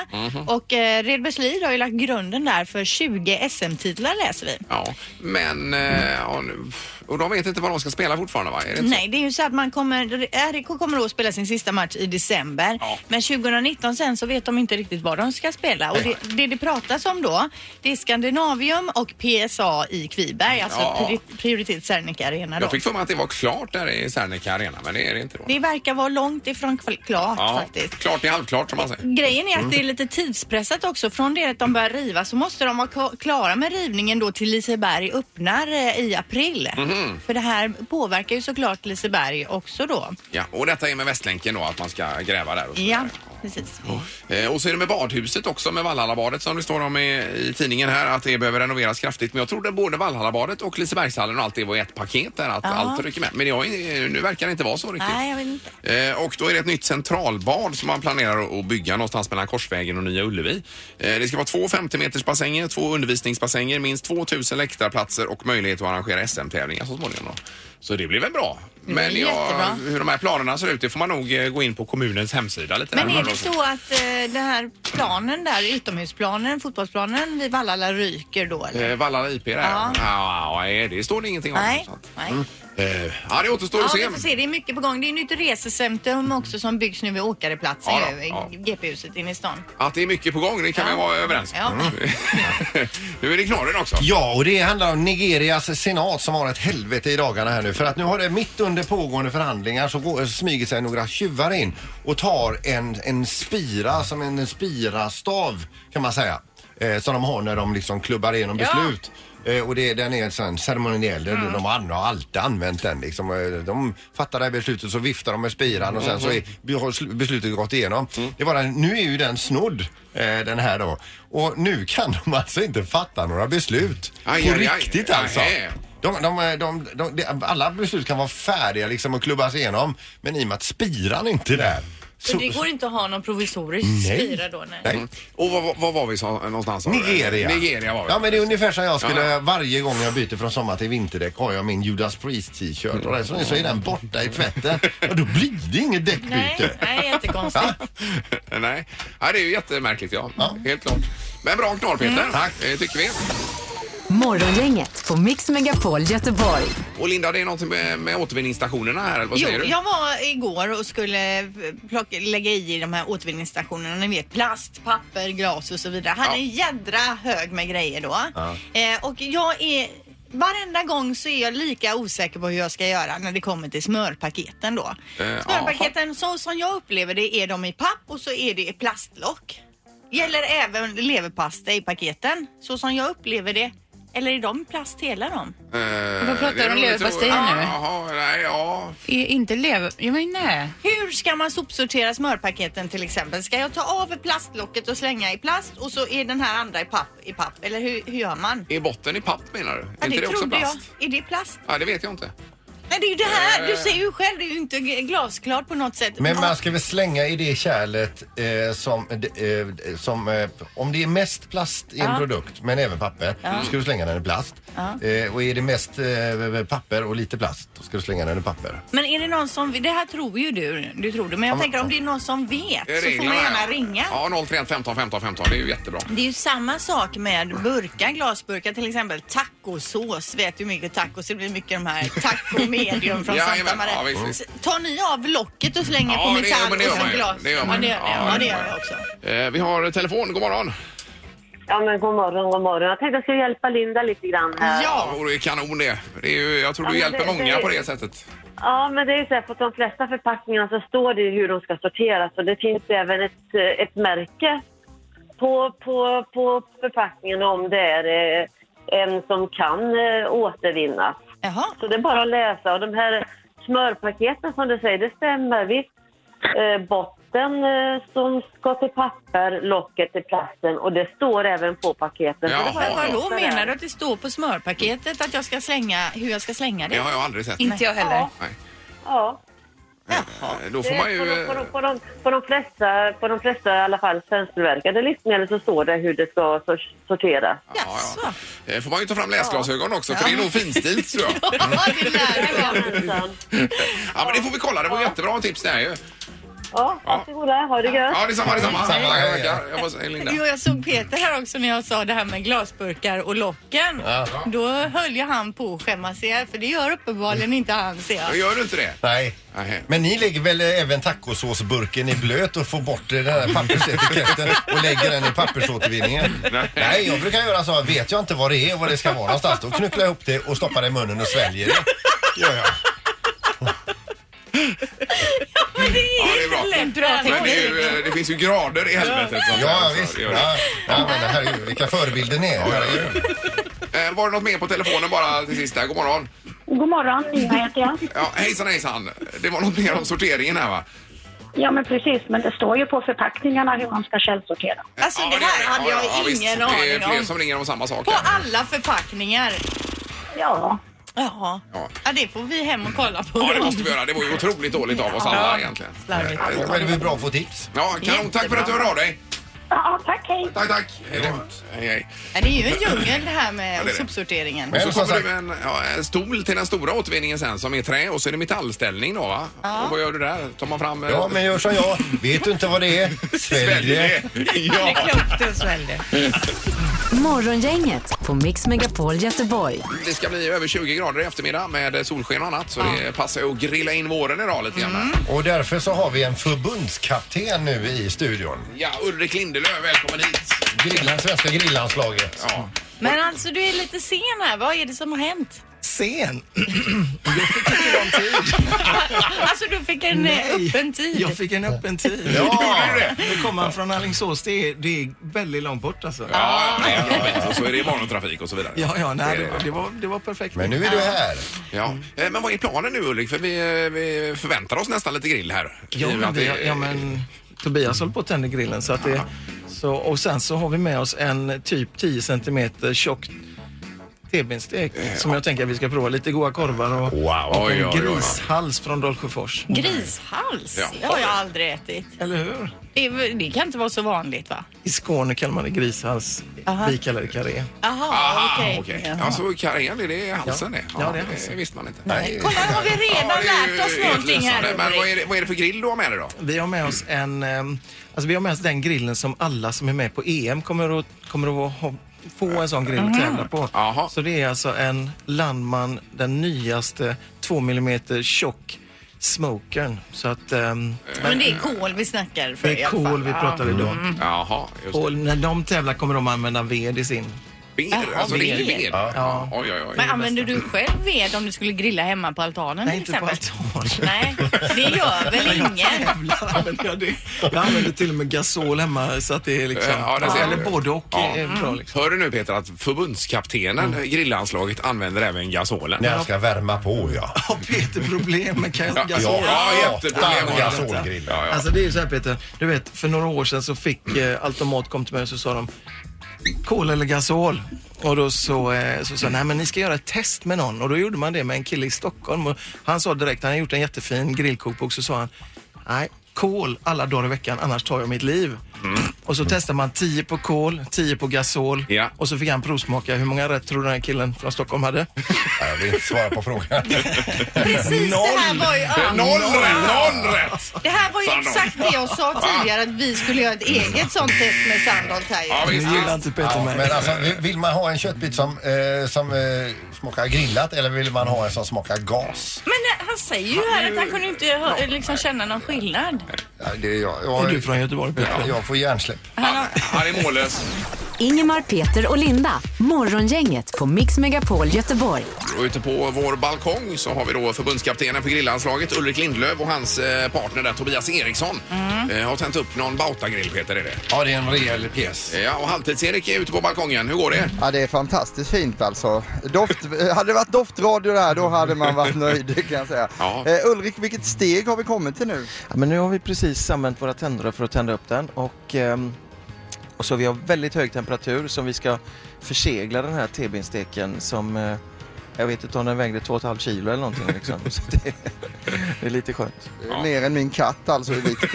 [SPEAKER 2] och eh, Redbergslid har ju lagt grunden där för 20 SM-titlar läser vi.
[SPEAKER 1] Ja, men... eh, ja, nu- Och de vet inte vad de ska spela fortfarande, va? Är det inte
[SPEAKER 2] Nej, det är ju så att man kommer, RIK kommer då att spela sin sista match i december.
[SPEAKER 1] Ja.
[SPEAKER 2] Men 2019 sen så vet de inte riktigt vad de ska spela. Och det, det det pratas om då, det är Skandinavium och PSA i Kviberg, alltså
[SPEAKER 1] Ja.
[SPEAKER 2] priori- prioritet Serneke Arena
[SPEAKER 1] Så?
[SPEAKER 2] då.
[SPEAKER 1] Jag fick för mig att det var klart där i Serneke Arena, men det är det inte då.
[SPEAKER 2] Det verkar vara långt ifrån kval- klart
[SPEAKER 1] ja,
[SPEAKER 2] faktiskt.
[SPEAKER 1] Klart är halvklart, som man säger.
[SPEAKER 2] Grejen är att det är lite tidspressat också. Från det att de börjar riva så måste de vara ka- klara med rivningen då till Liseberg öppnar eh, i april.
[SPEAKER 1] Mhm.
[SPEAKER 2] För det här påverkar ju såklart Liseberg också då.
[SPEAKER 1] Ja, och detta är med Västlänken då, att man ska gräva där. Och så
[SPEAKER 2] Ja,
[SPEAKER 1] vidare.
[SPEAKER 2] precis.
[SPEAKER 1] Eh, Och så är det med badhuset också, med Vallhallabadet som det står om i, i tidningen här, att det behöver renoveras kraftigt. Men jag trodde både Vallhallabadet och Lisebergshallen och allt det var i ett paket där, att
[SPEAKER 2] Ja.
[SPEAKER 1] allt rycker med. Men jag, är- eh, nu verkar det inte vara så riktigt.
[SPEAKER 2] Nej, jag vet inte.
[SPEAKER 1] Eh, Och då är det ett nytt centralbad som man planerar att- att bygga någonstans mellan Korsvägen och Nya Ullevi. Eh, Det ska vara två 50 meters bassänger, två undervisningsbassänger, minst 2000 läktarplatser och möjlighet att arrangera SM-tävlingar så småningom. Då. Så det blir väl bra. Men
[SPEAKER 2] blir
[SPEAKER 1] ja,
[SPEAKER 2] jättebra.
[SPEAKER 1] hur de här planerna ser ut, det får man nog eh, gå in på kommunens hemsida lite
[SPEAKER 2] Men
[SPEAKER 1] närmare
[SPEAKER 2] är det
[SPEAKER 1] då.
[SPEAKER 2] så att eh, den här planen där, utomhusplanen, fotbollsplanen vid Vallala ryker då eller?
[SPEAKER 1] Eh, Vallala IP där ja.
[SPEAKER 2] Ja.
[SPEAKER 1] Ja, nej, det står det ingenting om.
[SPEAKER 2] Nej.
[SPEAKER 1] Så att-
[SPEAKER 2] Nej.
[SPEAKER 1] Eh, Ja, det återstår
[SPEAKER 2] Ja,
[SPEAKER 1] att
[SPEAKER 2] vi
[SPEAKER 1] se.
[SPEAKER 2] får se. Det är mycket på gång. Det är nytt resecentrum också som byggs nu vid Åkareplatsen,
[SPEAKER 1] Ja då,
[SPEAKER 2] ju, i
[SPEAKER 1] ja.
[SPEAKER 2] GP-huset inne i stan.
[SPEAKER 1] Att det är mycket på gång, det kan vi
[SPEAKER 2] Ja.
[SPEAKER 1] vara överens om. Mm.
[SPEAKER 2] Ja.
[SPEAKER 1] nu är det knorren också.
[SPEAKER 3] Ja, och det handlar om Nigerias senat som har ett helvete i dagarna här nu. För att nu har det mitt under pågående förhandlingar så går, smyger sig några tjuvar in och tar en, en spira, som en spirastav kan man säga. Eh, som de har när de liksom klubbar igenom beslut. Eh, och det, den är en sån ceremoniell, mm. de har har alltid använt den liksom. Eh, De fattar det här beslutet så viftar de med spiran och sen
[SPEAKER 1] Mm.
[SPEAKER 3] så är, har sl- beslutet gått igenom. Det var den, nu är ju den snodd, eh, den här då. Och nu kan de alltså inte fatta några beslut.
[SPEAKER 1] Aj,
[SPEAKER 3] på
[SPEAKER 1] aj, aj.
[SPEAKER 3] riktigt alltså.
[SPEAKER 1] Nähä.
[SPEAKER 3] De, de, de, de, de, alla beslut kan vara färdiga liksom och klubbas igenom men i och med att spiran inte är där.
[SPEAKER 2] Så det går inte att ha någon provisorisk spira då? Nej.
[SPEAKER 3] Nej.
[SPEAKER 1] Och vad, vad- vad var vi så, någonstans? sa du?
[SPEAKER 3] Nigeria.
[SPEAKER 1] Nigeria var vi.
[SPEAKER 3] Ja men det är ungefär som jag skulle, varje gång jag byter från sommar till vinterdäck har jag min Judas Priest t-shirt och så, så är den borta i tvätten och då blir det inget
[SPEAKER 2] Nej,
[SPEAKER 3] däckbyte.
[SPEAKER 2] nej, jättekonstigt.
[SPEAKER 1] Nej. Nej, det är ju jättemärkligt ja. Helt klart. Men bra knorr Peter. Tack. Det tycker vi.
[SPEAKER 4] Morgongänget på Mix Megapol Göteborg.
[SPEAKER 1] Och Linda, det är något med, med återvinningsstationerna här eller vad
[SPEAKER 2] Jo,
[SPEAKER 1] säger du?
[SPEAKER 2] jag var igår och skulle plocka, lägga i de här återvinningsstationerna. Ni vet plast, papper, glas och så vidare. Han är en jädra hög med grejer då. Eh, och jag är... Varenda gång så är jag lika osäker på hur jag ska göra när det kommer till smörpaketen då.
[SPEAKER 1] Eh,
[SPEAKER 2] Smörpaketen så som jag upplever det är de i papp och så är det i plastlock. Gäller även leverpasta i paketen så som jag upplever det. Eller är de plast hela de?
[SPEAKER 1] Eh,
[SPEAKER 6] Vad pratar
[SPEAKER 1] det är
[SPEAKER 6] du om
[SPEAKER 1] nog lite
[SPEAKER 6] leverpastej
[SPEAKER 1] roligt.
[SPEAKER 6] nu?
[SPEAKER 1] Jaha, nej, ja.
[SPEAKER 6] Är inte lever... Ja, men nej.
[SPEAKER 2] Hur ska man sopsortera smörpaketen till exempel? Ska jag ta av plastlocket och slänga i plast och så är den här andra i papp? I papp? Eller hur, hur gör man?
[SPEAKER 1] Är botten i papp menar du?
[SPEAKER 2] Ja,
[SPEAKER 1] är inte det också
[SPEAKER 2] trodde
[SPEAKER 1] plast?
[SPEAKER 2] jag. Är det plast?
[SPEAKER 1] Ja, det vet jag inte.
[SPEAKER 2] Nej, det är ju det här. Du ser ju själv, det är ju inte g- glasklart på något sätt.
[SPEAKER 3] Men
[SPEAKER 2] Ja.
[SPEAKER 3] man ska väl slänga i det kärlet eh, som, eh, som eh, om det är mest plast i en produkt men även papper, då ska du slänga den i plast. Eh, och är det mest eh, papper och lite plast, då ska du slänga den i papper.
[SPEAKER 2] Men är det någon som... Det här tror ju du. Du tror det. Men jag tänker om det är någon som vet så får man gärna
[SPEAKER 1] ja.
[SPEAKER 2] ringa.
[SPEAKER 1] Eh, Ja, 031 15 15 15. Det är ju jättebra.
[SPEAKER 2] Det är ju samma sak med burkar, glasburkar till exempel. Tacosås, vet du hur mycket tacos det blir? Mycket de här taco medium från Santa
[SPEAKER 1] Jajamän, ja,
[SPEAKER 2] Maria.
[SPEAKER 1] visst, visst.
[SPEAKER 2] S- Tar ni av locket och slänger på
[SPEAKER 1] det,
[SPEAKER 2] metall
[SPEAKER 1] men det gör
[SPEAKER 2] och sen
[SPEAKER 1] man ju.
[SPEAKER 2] glas?
[SPEAKER 1] Det gör
[SPEAKER 2] ja,
[SPEAKER 1] man
[SPEAKER 2] det
[SPEAKER 1] ju.
[SPEAKER 2] gör, ja, ja, det gör jag också.
[SPEAKER 1] Eh, vi har telefon. God morgon.
[SPEAKER 8] Ja, men god morgon, god morgon. Jag tänkte jag skulle hjälpa Linda lite grann här.
[SPEAKER 1] Ja, det vore ju kanon det. det är ju, jag tror
[SPEAKER 8] Ja,
[SPEAKER 1] du
[SPEAKER 8] men
[SPEAKER 1] hjälper
[SPEAKER 8] det-
[SPEAKER 1] många
[SPEAKER 8] det-
[SPEAKER 1] på det sättet.
[SPEAKER 8] Ja, men det är ju så här, på de flesta förpackningarna så står det ju hur de ska sorteras och det finns ju även ett, eh, ett märke på, på, på förpackningen om det är eh, en som kan eh, återvinnas.
[SPEAKER 2] Jaha.
[SPEAKER 8] Så det är bara att läsa och de här smörpaketen som du säger, det stämmer visst. Eh, botten eh, som ska till papper, locket till plasten och det står även på paketen. Så det är bara
[SPEAKER 1] Jaha,
[SPEAKER 8] att
[SPEAKER 2] Men vadå,
[SPEAKER 8] läsa där.
[SPEAKER 2] menar du att det står på smörpaketet att jag ska slänga, hur jag ska slänga
[SPEAKER 1] Det
[SPEAKER 2] det?
[SPEAKER 1] har jag aldrig sett.
[SPEAKER 6] Inte jag heller.
[SPEAKER 8] Ja.
[SPEAKER 1] Nej.
[SPEAKER 8] Ja.
[SPEAKER 1] Eh, Då
[SPEAKER 8] Det
[SPEAKER 1] får
[SPEAKER 8] är
[SPEAKER 1] man ju...
[SPEAKER 8] på, de, på,
[SPEAKER 1] eh,
[SPEAKER 8] de, på, de, på, de flesta, på de flesta i alla fall svensktillverkade livsmedel så står det hur det ska sor- sorteras.
[SPEAKER 1] Ja, ja. Eh, får man ju ta fram läsglasögon också, för det är nog finstilt tror jag.
[SPEAKER 2] Ja, det lär jag.
[SPEAKER 8] Jajamensan.
[SPEAKER 1] Ja, men det får vi kolla. Det var jättebra tips det här ju.
[SPEAKER 8] Ja, varsågoda. Ha det gött.
[SPEAKER 1] Ja, detsamma, detsamma.
[SPEAKER 3] Samma
[SPEAKER 1] Jag
[SPEAKER 3] här.
[SPEAKER 1] tackar. Jag måste, Linda.
[SPEAKER 2] Jo, jag såg Peter här också när jag sa det här med glasburkar och locken. Då höll ju han på att skämmas ihjäl, för det gör uppenbarligen inte han, ser jag.
[SPEAKER 1] Gör du inte det?
[SPEAKER 3] Nej.
[SPEAKER 1] Nej.
[SPEAKER 3] Men ni lägger väl även tacosåsburken i blöt och får bort den här pappersetiketten och lägger den i pappersåtervinningen?
[SPEAKER 1] Nej.
[SPEAKER 3] Nej, jag brukar göra så. här, Vet jag inte vad det är och vad det ska vara någonstans, då knucklar jag ihop det och stoppar det i munnen och sväljer det. Gör jag.
[SPEAKER 1] Ja, det är bra.
[SPEAKER 2] Bra
[SPEAKER 1] Men det, är ju, eh, det finns ju grader i helvetet. så att säga,
[SPEAKER 3] Ja,
[SPEAKER 1] så
[SPEAKER 3] visst.
[SPEAKER 1] det gör det.
[SPEAKER 3] Ja, ja, men det här är ju, vilka förebilder ni är. Herregud.
[SPEAKER 1] Eh, Var det något mer på telefonen bara till sist där? God morgon.
[SPEAKER 9] God morgon, Nina heter jag.
[SPEAKER 1] Ja, hejsan hejsan. Det var något mer om sorteringen här va?
[SPEAKER 9] Ja, men precis. Men det står ju på förpackningarna hur man ska källsortera.
[SPEAKER 2] Alltså, det
[SPEAKER 1] gör
[SPEAKER 2] här hade jag
[SPEAKER 1] ja, visst.
[SPEAKER 2] ingen
[SPEAKER 1] Det är
[SPEAKER 2] aning
[SPEAKER 1] fler
[SPEAKER 2] om.
[SPEAKER 1] som ringer om samma sak.
[SPEAKER 2] På
[SPEAKER 1] här.
[SPEAKER 2] alla förpackningar.
[SPEAKER 9] Ja,
[SPEAKER 2] Jaha.
[SPEAKER 1] Ja.
[SPEAKER 2] Ja, det får vi hem och kolla på.
[SPEAKER 1] Ja, det måste vi göra. Det var ju otroligt dåligt av oss alla egentligen.
[SPEAKER 2] Slarvigt.
[SPEAKER 1] Eh,
[SPEAKER 3] Då är det väl bra att få tips.
[SPEAKER 1] Ja, kanon. Tack för att du hörde av dig.
[SPEAKER 9] ja tack. Hej.
[SPEAKER 1] Tack, tack. Hej, då. hej. hej.
[SPEAKER 2] Ja, det är ju en djungel det här med
[SPEAKER 1] Ja, det är det.
[SPEAKER 2] sopsorteringen.
[SPEAKER 3] Men
[SPEAKER 1] Så
[SPEAKER 3] som
[SPEAKER 1] kommer
[SPEAKER 3] sagt,
[SPEAKER 1] du med en, ja, en stol till den stora återvinningen sen som är trä och så är det metallställning då va? Och vad gör du där? Tar man fram... eh,
[SPEAKER 3] ja men gör som jag. Vet du inte vad det är, svälj det.
[SPEAKER 1] Ja.
[SPEAKER 6] Klokt och svällde.
[SPEAKER 4] Morgongänget på Mix Megapol Göteborg.
[SPEAKER 1] Det ska bli över 20 grader i eftermiddag med solsken och annat så det passar ju att grilla in våren idag lite grann.
[SPEAKER 2] Mm.
[SPEAKER 1] här.
[SPEAKER 3] Och därför så har vi en förbundskapten nu i studion.
[SPEAKER 1] Ja, Ulrik Lindelöf, välkommen hit.
[SPEAKER 3] Grillan, svenska grillanslaget.
[SPEAKER 1] Ja.
[SPEAKER 2] Men alltså, du är lite sen här. Vad är det som har hänt?
[SPEAKER 10] Sen? jag fick inte lång tid.
[SPEAKER 2] Alltså, du fick en eh, öppen tid.
[SPEAKER 10] Jag fick en öppen tid.
[SPEAKER 3] Ja.
[SPEAKER 10] Nu kommer han från Alingsås. Det är, det är väldigt långt bort alltså.
[SPEAKER 1] Ja, det är jobbigt. Och så är det morgontrafik och så vidare.
[SPEAKER 10] Ja, ja, nej,
[SPEAKER 1] Det är
[SPEAKER 10] det,
[SPEAKER 1] det.
[SPEAKER 10] var- Mm. det, var, det var perfekt.
[SPEAKER 3] Men nu är du här.
[SPEAKER 1] Ja. Eh, Men vad är planen nu Ulrik? För vi, eh, vi förväntar oss nästan lite grill här.
[SPEAKER 10] Ja,
[SPEAKER 1] I och med
[SPEAKER 10] men,
[SPEAKER 1] att
[SPEAKER 10] vi,
[SPEAKER 1] det-
[SPEAKER 10] ja, men Tobias håller på att tända grillen. Så att det, så, och sen så har vi med oss en typ 10 centimeter tjock T-bensstek Eh, som jag tänker att vi ska prova. Lite goda korvar och,
[SPEAKER 1] Wow.
[SPEAKER 10] och
[SPEAKER 1] Oj,
[SPEAKER 10] en
[SPEAKER 1] oj, oj.
[SPEAKER 10] grishals från Dolsjöfors.
[SPEAKER 2] Grishals?
[SPEAKER 1] Ja.
[SPEAKER 2] Det har jag aldrig ätit.
[SPEAKER 10] Eller hur?
[SPEAKER 2] Det, är- det kan inte vara så vanligt, va?
[SPEAKER 10] I Skåne kallar man det grishals.
[SPEAKER 2] Aha.
[SPEAKER 10] Vi kallar det karré.
[SPEAKER 2] Jaha,
[SPEAKER 1] Aha,
[SPEAKER 2] okej.
[SPEAKER 1] okej. Alltså karriär, är det halsen det?
[SPEAKER 10] Ja, det är halsen.
[SPEAKER 1] visste man inte.
[SPEAKER 2] Kolla, har vi redan
[SPEAKER 1] Ja, det är ju
[SPEAKER 2] lärt oss
[SPEAKER 1] helt
[SPEAKER 2] någonting här?
[SPEAKER 1] lysande. Men vad
[SPEAKER 2] Ulrik?
[SPEAKER 1] är, det, vad är det för grill du har med dig då?
[SPEAKER 10] Vi har med oss en... ehm, Alltså vi har med oss den grillen som alla som är med på EM kommer att, kommer att ha, få en sån grill att tävla på.
[SPEAKER 1] Jaha.
[SPEAKER 10] Så det är alltså en Landman, den nyaste 2 mm tjock smokern. Så att ehm,
[SPEAKER 2] Men det är kol vi snackar för
[SPEAKER 10] det
[SPEAKER 2] i
[SPEAKER 10] är
[SPEAKER 2] alla fall.
[SPEAKER 10] kol vi pratar idag.
[SPEAKER 1] Mm. Jaha, just
[SPEAKER 10] Mm. Och när de tävlar kommer de använda ved i sin.
[SPEAKER 1] det. Ved, alltså
[SPEAKER 2] ved.
[SPEAKER 1] riktig ved. Ja.
[SPEAKER 10] Ja.
[SPEAKER 1] Oj, oj, oj.
[SPEAKER 2] Men använder du själv ved om du skulle grilla hemma på altanen
[SPEAKER 10] Nej,
[SPEAKER 2] till
[SPEAKER 10] inte på
[SPEAKER 2] exempel?
[SPEAKER 10] altan.
[SPEAKER 2] Nej, det gör väl ingen?
[SPEAKER 10] Jävlar använder jag det. Jag använder till och med gasol hemma så att det är liksom...
[SPEAKER 1] Eh, Ja, det ser
[SPEAKER 10] eller
[SPEAKER 1] du.
[SPEAKER 10] både och
[SPEAKER 1] Ja.
[SPEAKER 10] är bra liksom.
[SPEAKER 1] Hör du nu Peter att förbundskaptenen,
[SPEAKER 10] Mm.
[SPEAKER 1] grillanslaget, använder även gasolen?
[SPEAKER 3] När jag ska värma på ja.
[SPEAKER 10] Har Peter problem med
[SPEAKER 1] Ja,
[SPEAKER 10] gasol?
[SPEAKER 1] ja, ja, jätteproblem.
[SPEAKER 3] Hatar gasolgrill.
[SPEAKER 1] Ja, ja.
[SPEAKER 10] Alltså det är ju så här Peter, du vet för några år sedan så fick eh, Altomat kom till mig och så sa de
[SPEAKER 8] kol eller gasol. Och då så, eh, så sa jag, nej men ni ska göra ett test med någon. Och då gjorde man det med en kille i Stockholm. Och han sa direkt, han hade gjort en jättefin grillkokbok, så sa han, nej, kol alla dagar i veckan, annars tar jag mitt liv. Och så testade man 10 på kol, 10 på gasol. Och så fick han provsmaka. Hur många rätt tror du den här killen från Stockholm hade?
[SPEAKER 3] Jag vill inte svara på frågan.
[SPEAKER 2] Precis det här var ju... ja.
[SPEAKER 1] rätt!
[SPEAKER 2] Det här var ju
[SPEAKER 3] Sandholt.
[SPEAKER 2] exakt det jag sa tidigare att vi skulle göra ett eget sånt test med Sandholt här ju.
[SPEAKER 3] inte Peter mig. Men alltså, vill- vill man ha en köttbit som, eh, som eh, smakar grillat eller vill man ha en som smakar gas?
[SPEAKER 11] Men eh, han säger ju här att han kunde inte hö-
[SPEAKER 2] eh,
[SPEAKER 11] liksom känna någon skillnad.
[SPEAKER 3] Ja, det är, jag, jag,
[SPEAKER 8] Är du från Göteborg
[SPEAKER 3] Peter? Ja, jag får hjärnsläpp.
[SPEAKER 1] Han är mållös.
[SPEAKER 4] Ingemar, Peter och Linda. Morgongänget på Mix Megapol Göteborg.
[SPEAKER 1] Och ute på vår balkong så har vi då förbundskaptenen för grillanslaget Ulrik Lindlöf och hans eh, partner där Tobias Eriksson
[SPEAKER 2] Mm.
[SPEAKER 1] eh, har tänt upp någon bautagrill Peter är det. Eh,
[SPEAKER 3] Ja, det är en rejäl pjäs.
[SPEAKER 1] Ja, och Halvtids-Erik är ute på balkongen. Hur går det?
[SPEAKER 10] Ja, det är fantastiskt fint alltså. Doft, hade det varit doftradio där, då hade man varit nöjd det kan jag säga. Eh, Ulrik, vilket steg har vi kommit till nu?
[SPEAKER 8] Ja, men nu har vi precis använt våra tändare för att tända upp den och, ehm,
[SPEAKER 10] Och så vi har väldigt hög temperatur som vi ska försegla den här tebinsteken som eh, jag vet inte om den vägde 2,5 kilo eller någonting liksom. Så det, det är lite skönt. Mer än min katt alltså i vikt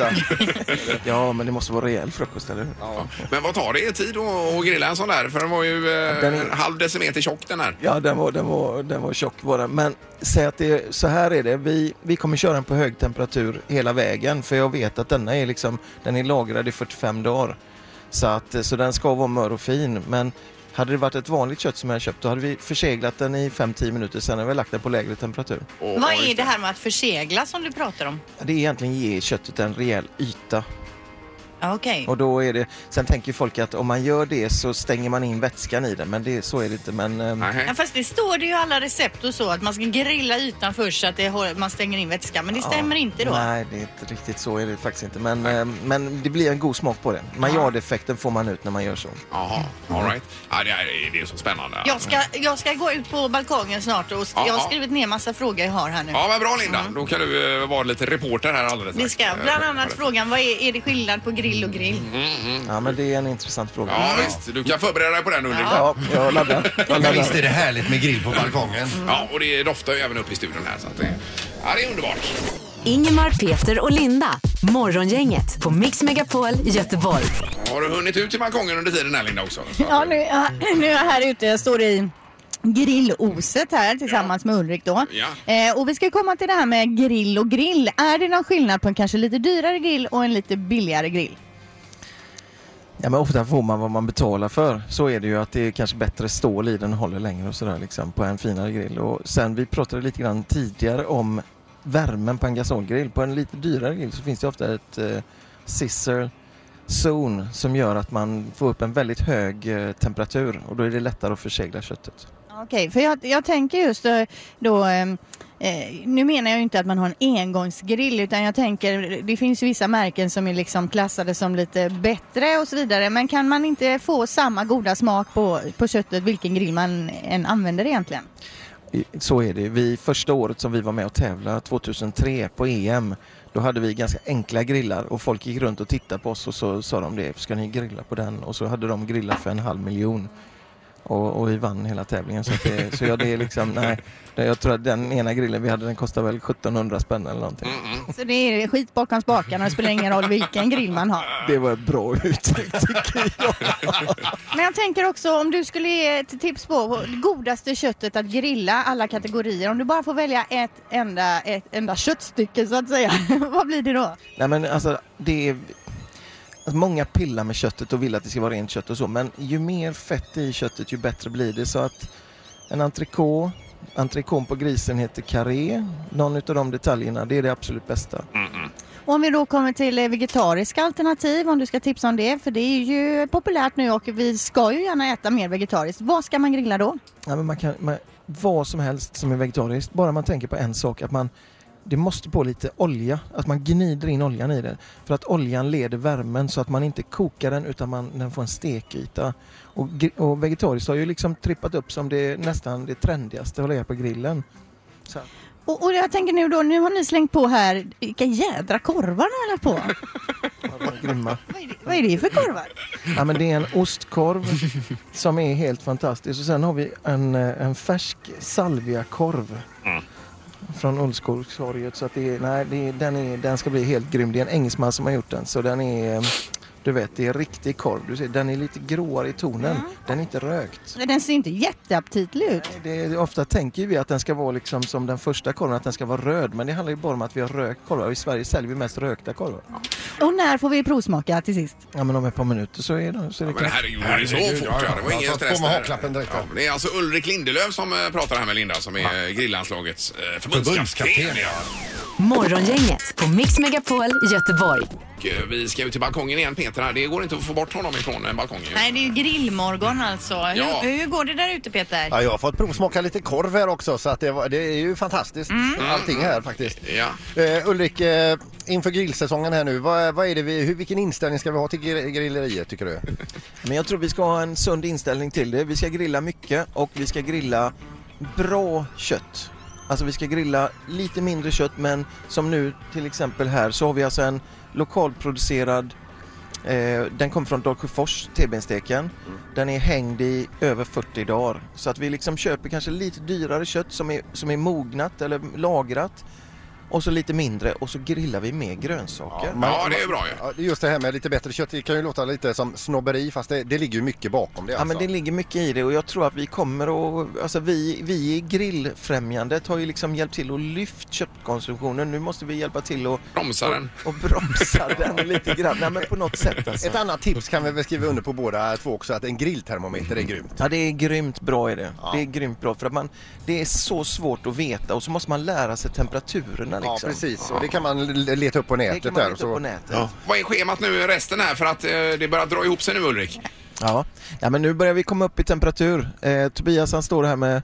[SPEAKER 10] Ja, men det måste vara rejäl frukost, eller hur?
[SPEAKER 1] Ja. Men vad tar det i tid att att grilla en sån där? För den var ju eh,
[SPEAKER 10] Den är-
[SPEAKER 1] en halv decimeter tjock den här.
[SPEAKER 10] Ja, den var, den var, den var tjock var den. Men säg att det, är- så här är det. Vi, vi kommer köra den på hög temperatur hela vägen. För jag vet att denna är liksom, den är lagrad i 45 dagar. Så, att, eh, så den ska vara mör och fin. Men hade det varit ett vanligt kött som jag hade köpt, då hade vi förseglat den i 5-10 minuter. Sen hade vi lagt den på lägre temperatur.
[SPEAKER 2] Vad är det här med att försegla som du pratar om?
[SPEAKER 10] Ja, Det är egentligen ge köttet en rejäl yta.
[SPEAKER 2] Okej.
[SPEAKER 10] Och då är det, sen tänker ju folk att om man gör det så stänger man in vätskan i den, men det, så är det inte. Men, ehm,
[SPEAKER 2] Ja, fast det står det ju i alla recept och så att man ska grilla ytan först så att det, håller- man stänger in vätska. Men det stämmer inte då.
[SPEAKER 10] Nej, det är inte riktigt så är det faktiskt inte. Men, eh, men det blir en god smak på det. Maillard-effekten får man ut när man gör så.
[SPEAKER 1] Jaha, all right. Ja, det, här är, det är så spännande.
[SPEAKER 2] Jag ska, jag ska gå ut på balkongen snart och st-
[SPEAKER 1] Ja,
[SPEAKER 2] jag har
[SPEAKER 1] ja.
[SPEAKER 2] skrivit ner massa frågor jag har här nu.
[SPEAKER 1] Ja, men bra Linda. Då kan du eh, vara lite reporter här alldeles
[SPEAKER 2] Det ska jag.
[SPEAKER 1] strax. Eh,
[SPEAKER 2] Bland annat frågan, vad är, är det skillnad på grill och grill?
[SPEAKER 10] Ja, men det är en intressant fråga.
[SPEAKER 1] Ja, visst. Du kan förbereda dig på den Ulrik.
[SPEAKER 10] Ja, jag laddar. Jag laddar.
[SPEAKER 3] Visst är det härligt med grill på balkongen?
[SPEAKER 1] Ja, och det doftar ju även upp i studion här. Så att det, ja, det är underbart.
[SPEAKER 4] Ingemar, Peter och Linda. Morgongänget på Mix Megapol Göteborg.
[SPEAKER 1] Har du hunnit ut till balkongen under tiden här Linda också?
[SPEAKER 11] Ja, nu, ja, nu är jag här ute. Jag står i grilloset här tillsammans med Ulrik då.
[SPEAKER 1] Ja.
[SPEAKER 11] Eh, och vi ska komma till det här med grill och grill. Är det någon skillnad på en kanske lite dyrare grill och en lite billigare grill?
[SPEAKER 10] Ja, men ofta får man vad man betalar för. Så är det ju att det är kanske bättre stål i den, håller längre och sådär liksom på en finare grill. Och sen vi pratade lite grann tidigare om värmen på en gasolgrill. På en lite dyrare grill så finns det ofta ett eh, scissor zone som gör att man får upp en väldigt hög eh, temperatur och då är det lättare att försegla köttet.
[SPEAKER 11] Okej, för jag, jag tänker just eh, då... ehm, Eh, nu menar jag ju inte att man har en engångsgrill utan jag tänker det finns ju vissa märken som är liksom klassade som lite bättre och så vidare men kan man inte få samma goda smak på, på köttet vilken grill man än använder egentligen?
[SPEAKER 10] I- Så är det. Vi, första året som vi var med och tävlade, 2003 på EM, då hade vi ganska enkla grillar och folk gick runt och tittade på oss och så sa de det, ska ni grilla på den? Och så hade de grillat för en halv miljon. Och, och vi vann hela tävlingen. Så, att det, så ja, det är liksom, nej. Det- Jag tror att den ena grillen vi hade den kostade väl 1700 spänn eller någonting.
[SPEAKER 11] Så det är skit bakom spakarna, det spelar ingen roll vilken grill man har.
[SPEAKER 10] Det var ett bra uttryck.
[SPEAKER 11] Men jag tänker också om du skulle ge ett tips på det godaste köttet att grilla alla kategorier. Om du bara får välja ett enda, ett enda köttstycke så att säga. Vad blir det då?
[SPEAKER 10] Nej men alltså det är... alltså, Många pillar med köttet och vill att det ska vara rent kött och så men ju mer fett i köttet ju bättre blir det så att en entrecote, entrecôten på grisen heter carré, någon utav de detaljerna det är det absolut bästa.
[SPEAKER 11] Och om vi då kommer till eh, vegetariska alternativ om du ska tipsa om det. För det är ju populärt nu och vi ska ju gärna äta mer vegetariskt. Vad ska man grilla då?
[SPEAKER 10] Ja, men man kan, man, vad som helst som är vegetariskt, bara man tänker på en sak att man det måste på lite olja, att man gnider in oljan i den. För att oljan leder värmen så att man inte kokar den utan man, den får en stekyta. Och, gri- och vegetariskt har ju liksom trippat upp som det nästan det trendigaste att lägga på grillen. Så.
[SPEAKER 12] Och, och jag tänker nu då, nu har ni slängt på här, vilka jädra korvar ni har lagt på.
[SPEAKER 8] Grymma.
[SPEAKER 12] Vad är det för korvar?
[SPEAKER 8] Ja, men det är en ostkorv som är helt fantastisk. Och sen har vi en, eh, en färsk salviakorv från Ullskogstorget. Så att det är, nej, det är, den, är, den ska bli helt grym. Det är en engelsman som har gjort den. Så den är, eh, du vet, det är riktig korv. Du ser, den är lite gråare i tonen. Den är inte rökt.
[SPEAKER 12] Den ser inte jätteaptitlig ut.
[SPEAKER 8] Det är, ofta tänker vi att den ska vara liksom som den första korven, att den ska vara röd. Men det handlar ju bara om att vi har rökt korvar. Och I Sverige säljer vi mest rökta korvar.
[SPEAKER 12] Och när får vi provsmaka till sist?
[SPEAKER 8] Ja, men om ett par minuter så är det, så är det
[SPEAKER 1] Men herregud, det är så fort. Ja, det var ingen stress där. Ja, men det är alltså Ulrik Lindelöf som eh, pratar här med Linda som är eh, grillandslagets eh, förbundskapten.
[SPEAKER 13] Förbundskapten,
[SPEAKER 1] ja.
[SPEAKER 4] Morgongänget på Mix Megapol Göteborg.
[SPEAKER 1] Och, eh, Vi ska ut till balkongen igen Peter. här. Det går inte att få bort honom ifrån eh, balkongen. ju.
[SPEAKER 2] Nej, det är ju grillmorgon alltså.
[SPEAKER 1] Ja.
[SPEAKER 2] Hur, hur går det där ute Peter?
[SPEAKER 3] Ja, jag har fått provsmaka lite korv här också så att det, var, det är ju fantastiskt allting här faktiskt. Eh, Ulrik, eh, inför grillsäsongen här nu, vad, vad är det vi, hur, vilken inställning ska vi ha till gri- grilleriet tycker du?
[SPEAKER 8] Men jag tror vi ska ha en sund inställning till det. Vi ska grilla mycket och vi ska grilla bra kött. Alltså vi ska grilla lite mindre kött men som nu till exempel här så har vi alltså en lokalproducerad Eh, den kom från Dalsjöfors, T-bensteken. Den är hängd i över 40 dagar. Så att vi liksom köper kanske lite dyrare kött som är, som är mognat eller lagrat. Och så lite mindre och så grillar vi med grönsaker.
[SPEAKER 3] Ja, det är Just det här med lite bättre kött, det kan ju låta lite som snobberi fast det, det ligger ju mycket bakom det. alltså.
[SPEAKER 8] Ja, men det ligger mycket i det och jag tror att vi kommer att, alltså vi, vi i grillfrämjandet har ju liksom hjälpt till att lyfta köttkonsumtionen. Nu måste vi hjälpa till att
[SPEAKER 1] bromsa
[SPEAKER 8] den. Och, och bromsa den lite grann. Nej, men på något sätt alltså.
[SPEAKER 3] Ett annat tips kan vi väl skriva under på båda två också att en grilltermometer
[SPEAKER 8] Mm.
[SPEAKER 3] är grymt.
[SPEAKER 8] Ja, det är grymt bra är det. Det är grymt bra för att man, det är så svårt att veta och så måste man lära sig temperaturerna liksom.
[SPEAKER 3] Ja precis och det kan man l- leta upp på nätet.
[SPEAKER 8] kan man
[SPEAKER 3] där
[SPEAKER 8] leta
[SPEAKER 3] och så...
[SPEAKER 8] upp på nätet.
[SPEAKER 1] Vad är schemat nu resten här för att eh, det börjar dra ihop sig nu Ulrik?
[SPEAKER 8] Ja. ja, men nu börjar vi komma upp i temperatur. Eh, Tobias han står här med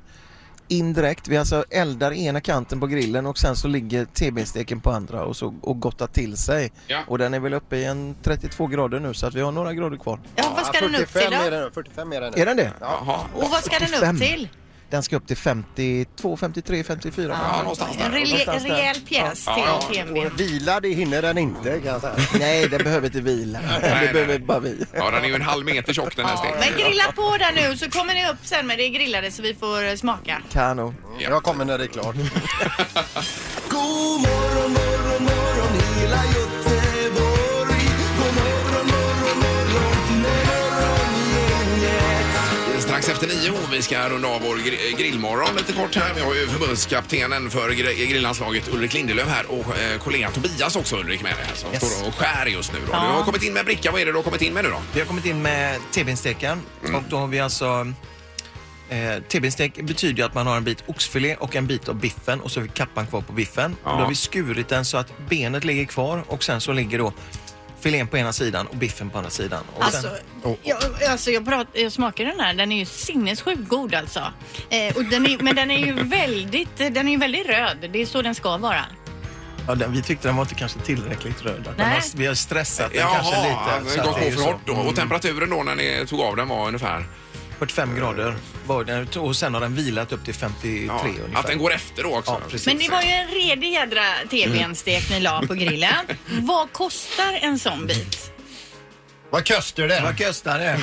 [SPEAKER 8] indirekt. Vi alltså eldar ena kanten på grillen och sen så ligger TB-steken på andra och, så, och gottar till sig.
[SPEAKER 1] Ja.
[SPEAKER 8] Och den är väl uppe i en 32 grader nu så att vi har några grader kvar.
[SPEAKER 2] Ja, vad ska den upp till
[SPEAKER 3] 45
[SPEAKER 2] då?
[SPEAKER 3] är den, 45 är den nu.
[SPEAKER 8] Är den det?
[SPEAKER 1] Jaha.
[SPEAKER 2] Och vad ska den upp
[SPEAKER 8] 45.
[SPEAKER 2] till?
[SPEAKER 8] Den ska upp till 52, 53, 54.
[SPEAKER 2] Ja, någonstans där. En rejäl- Någonstans där. rejäl pjäs Ja, till ja. TB.
[SPEAKER 3] Och Vila det hinner den inte kan jag säga.
[SPEAKER 8] Nej, den behöver inte vila.
[SPEAKER 1] nej,
[SPEAKER 8] Det behöver bara vi.
[SPEAKER 1] Ja, den är ju en halv meter tjock den här steken.
[SPEAKER 2] Men grilla på där nu så kommer ni upp sen med det grillade så vi får eh, smaka.
[SPEAKER 8] Kanon.
[SPEAKER 3] Jag kommer när det är klart.
[SPEAKER 10] God morgon, morgon, morgon hela Göteborg. God morgon, morgon, morgon, morgongänget.
[SPEAKER 1] Strax efter nio och vi ska runda av vår gr- eh, grillmorgon lite kort här. Vi har ju förbundskaptenen för gr- eh, grillandslaget Ulrik Lindelöf här och eh, kollegan Tobias också Ulrik med dig här som
[SPEAKER 8] Yes.
[SPEAKER 1] står och skär just nu. Då.
[SPEAKER 8] Ja.
[SPEAKER 1] Du har kommit in med bricka. Vad är det du har kommit in med nu då?
[SPEAKER 8] Vi har kommit in med T-bensteken och då har vi alltså Eh, T-benstek betyder ju att man har en bit oxfilé och en bit av biffen och så har vi kappan kvar på biffen.
[SPEAKER 1] Ja.
[SPEAKER 8] Och då har vi skurit den så att benet ligger kvar och sen så ligger då filén på ena sidan och biffen på andra sidan. Och
[SPEAKER 2] Alltså,
[SPEAKER 8] sen, och,
[SPEAKER 2] jag, alltså jag, prat, jag smakar den här. Den är ju sinnessjukt god alltså. Eh, och den är, men den är ju väldigt, den är ju väldigt röd. Det är så den ska vara.
[SPEAKER 8] ja, den, vi tyckte den var inte kanske tillräckligt röd. Att
[SPEAKER 2] Nej.
[SPEAKER 8] Den har, vi har stressat den kanske lite.
[SPEAKER 1] Jaha,
[SPEAKER 8] så
[SPEAKER 1] den
[SPEAKER 8] att
[SPEAKER 1] gått
[SPEAKER 8] det är
[SPEAKER 1] på
[SPEAKER 8] ju
[SPEAKER 1] för
[SPEAKER 8] så.
[SPEAKER 1] hårt då.
[SPEAKER 8] Mm.
[SPEAKER 1] Och temperaturen då när ni tog av den var ungefär?
[SPEAKER 8] 45 grader var den och sen har den vilat upp till 53 ungefär.
[SPEAKER 1] att den går efter då också.
[SPEAKER 8] Ja, precis.
[SPEAKER 2] Men det var ju en redig jädra TVn-stek ni la på grillen. Vad kostar en sån bit?
[SPEAKER 3] Vad kostar det?
[SPEAKER 8] Vad kostar det?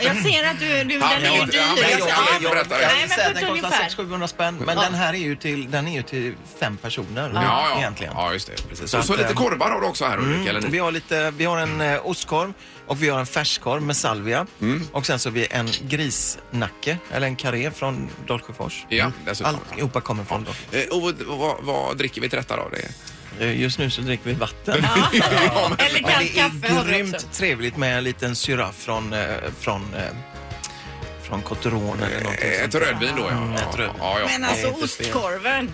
[SPEAKER 2] Jag ser att du, du den är ju dyr. alltså. Ja. Nej, men på ett
[SPEAKER 8] Den kostar
[SPEAKER 2] ungefär.
[SPEAKER 8] 600-700 spänn, men
[SPEAKER 2] Ja.
[SPEAKER 8] den här är ju till, den är ju till fem personer
[SPEAKER 1] Ja, ja.
[SPEAKER 8] egentligen. eh,
[SPEAKER 1] Ja, just det. Precis. Så, så lite korvar har du också här Ulrik, eller?
[SPEAKER 8] Mm. Vi har, lite, vi har en eh, ostkorv och vi har en färskorv med salvia. Och sen så har vi en grisnacke, eller en karré från Dalsjöfors.
[SPEAKER 1] Ja, dessutom.
[SPEAKER 8] Alltihopa kommer från Dalsjöfors.
[SPEAKER 1] Eh, Och vad, vad, vad dricker vi till rätta då? Det?
[SPEAKER 8] Eh, Just nu så dricker vi vatten.
[SPEAKER 2] Eller
[SPEAKER 8] Men
[SPEAKER 2] kallt
[SPEAKER 8] det
[SPEAKER 2] kaffe
[SPEAKER 8] är
[SPEAKER 2] har vi
[SPEAKER 8] grymt
[SPEAKER 2] också.
[SPEAKER 8] trevligt med en liten syra från, eh, från, eh, från Cotteron eller någonting
[SPEAKER 1] Ett rödvin då, ja.
[SPEAKER 8] Mm, ett rödvin.
[SPEAKER 2] Men alltså ostkorven.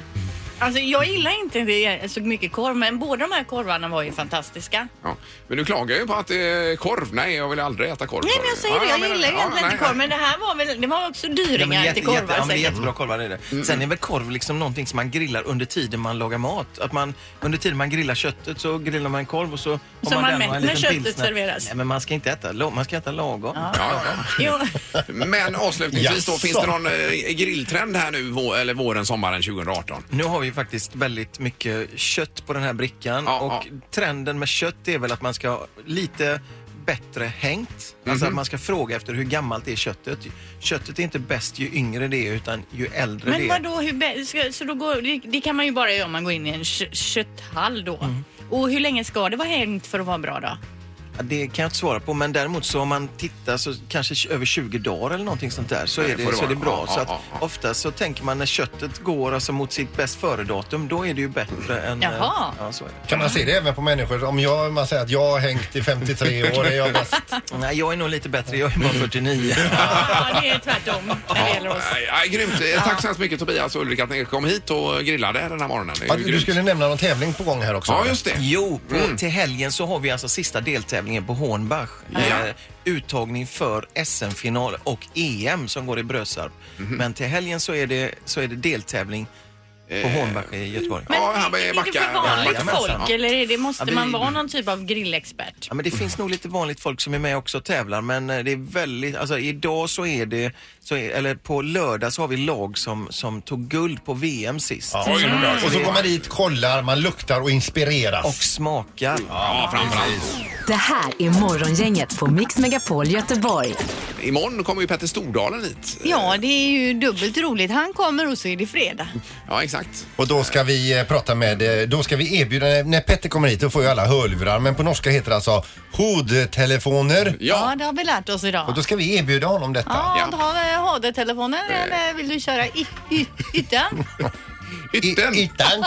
[SPEAKER 2] Alltså jag gillar inte det så mycket korv men båda de här korvarna var ju fantastiska.
[SPEAKER 1] Ja. Men du klagar ju på att det är korv. Nej, jag vill aldrig äta korv.
[SPEAKER 2] Nej men jag säger
[SPEAKER 1] Ja,
[SPEAKER 2] det, jag
[SPEAKER 1] men-
[SPEAKER 2] gillar ju
[SPEAKER 1] ja,
[SPEAKER 2] egentligen
[SPEAKER 1] nej,
[SPEAKER 2] inte korv men det här var väl, det var också dyringar
[SPEAKER 8] jätte-
[SPEAKER 2] till korvar
[SPEAKER 8] jätte- ja, men det är
[SPEAKER 2] säkert.
[SPEAKER 8] jättebra korvar är det. Sen är väl korv liksom någonting som man grillar under tiden man lagar mat. Att man, under tiden man grillar köttet så grillar man en korv och så har
[SPEAKER 2] Så man
[SPEAKER 8] den och
[SPEAKER 2] mätt
[SPEAKER 8] en liten
[SPEAKER 2] när köttet
[SPEAKER 8] pilsner.
[SPEAKER 2] serveras.
[SPEAKER 8] Nej, men man ska inte äta, lo- man ska äta lagom.
[SPEAKER 1] Ja, ja. Men avslutningsvis då,
[SPEAKER 8] Jaså.
[SPEAKER 1] finns det någon eh, grilltrend här nu, vå- eller våren, sommaren 2018?
[SPEAKER 8] Nu har vi faktiskt väldigt mycket kött på den här brickan och trenden med kött är väl att man ska ha lite bättre hängt. Alltså
[SPEAKER 1] Mhm.
[SPEAKER 8] att man ska fråga efter hur gammalt är köttet. Köttet är inte bäst ju yngre det är utan ju äldre
[SPEAKER 6] Men
[SPEAKER 8] det är.
[SPEAKER 6] vadå, hur, bä- ska- så då går, det, det kan man ju bara göra om man går in i en kö- kötthall då.
[SPEAKER 8] Mm.
[SPEAKER 6] Och hur länge ska det vara hängt för att vara bra då?
[SPEAKER 8] Ja, Det kan jag inte svara på, men däremot så om man tittar så kanske tj- över 20 dagar eller någonting sånt där så
[SPEAKER 1] Ja,
[SPEAKER 8] är
[SPEAKER 1] det
[SPEAKER 8] det,
[SPEAKER 1] får det
[SPEAKER 8] så är det
[SPEAKER 1] vara.
[SPEAKER 8] bra.
[SPEAKER 1] Ja,
[SPEAKER 8] Så
[SPEAKER 1] ja,
[SPEAKER 8] att ofta så tänker man när köttet går alltså mot sitt bäst före-datum, då är det ju bättre än... eh,
[SPEAKER 3] Jaha.
[SPEAKER 8] Ja, så är det.
[SPEAKER 3] Kan man se det även på människor? Om jag, man säger att jag har hängt i 53 år, är jag bäst?
[SPEAKER 8] Nej, jag är nog lite bättre. Jag är bara 49.
[SPEAKER 6] Ja, det är tvärtom när det gäller oss.
[SPEAKER 1] Nej, nej, grymt. Eh, Tack så hemskt mycket Tobias och Ulrika att ni kom hit och grillade den här morgonen. Det är
[SPEAKER 3] Ja,
[SPEAKER 1] ju
[SPEAKER 3] Du
[SPEAKER 1] grymt.
[SPEAKER 3] skulle nämna någon tävling på gång här också.
[SPEAKER 1] Ja,
[SPEAKER 3] eller?
[SPEAKER 1] just det.
[SPEAKER 8] Jo, på,
[SPEAKER 1] Mm.
[SPEAKER 8] till helgen så har vi alltså sista deltävlingen på Hornbach. Eh, uttagning för SM-final och EM som går i Brösarp.
[SPEAKER 6] Mhm.
[SPEAKER 8] Men till helgen så är det, så är det deltävling på Hornbach i Göteborg.
[SPEAKER 1] Ja, han är
[SPEAKER 6] Är det för vanligt Eh, folk eller är det, måste
[SPEAKER 8] Ja, vi-
[SPEAKER 6] man vara någon typ av grillexpert?
[SPEAKER 8] Ja, men det finns nog lite vanligt folk som är med också och tävlar men eh, det är väldigt, alltså idag så är det, så är, eller på lördag så har vi lag som, som tog guld på VM sist.
[SPEAKER 3] Och så går man dit, kollar, man luktar och inspireras.
[SPEAKER 8] Och smakar.
[SPEAKER 1] Ja, framförallt.
[SPEAKER 4] Det här är Morgongänget på Mix Megapol Göteborg.
[SPEAKER 1] Imorgon kommer ju Petter Stordalen hit.
[SPEAKER 6] Ja, det är ju dubbelt roligt. Han kommer och så är det fredag.
[SPEAKER 1] Ja, exakt.
[SPEAKER 3] Och då ska vi eh, prata med, eh, då ska vi erbjuda, när- när Petter kommer hit då får ju alla hörlurar men på norska heter det alltså hodtelefoner.
[SPEAKER 6] Ja. det har vi lärt oss
[SPEAKER 3] Och
[SPEAKER 6] idag.
[SPEAKER 3] då ska vi erbjuda honom detta.
[SPEAKER 2] Ah.
[SPEAKER 6] Ja, du
[SPEAKER 2] eh,
[SPEAKER 6] har HD-telefonen eller vill du köra y- y- ytan?
[SPEAKER 1] Ytten.
[SPEAKER 3] Ytten.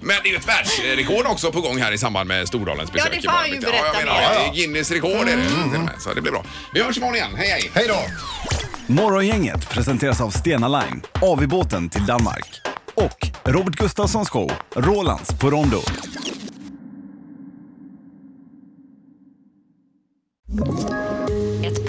[SPEAKER 1] Men det är ju ett världsrekord också på gång här i samband med Stordalens besök.
[SPEAKER 6] Ja, det får
[SPEAKER 1] imorgon,
[SPEAKER 6] han ju
[SPEAKER 1] Victor.
[SPEAKER 6] berätta
[SPEAKER 1] Ja, jag menar,
[SPEAKER 6] mer.
[SPEAKER 1] det är Guinness rekord är det. till och med, Så det blir bra. Vi hörs imorgon igen. Hej, hej.
[SPEAKER 3] Hej då.
[SPEAKER 14] Morgongänget presenteras av Stena Line, AV-båten till Danmark och Robert Gustafssons show Rolands på Rondo.
[SPEAKER 4] Ett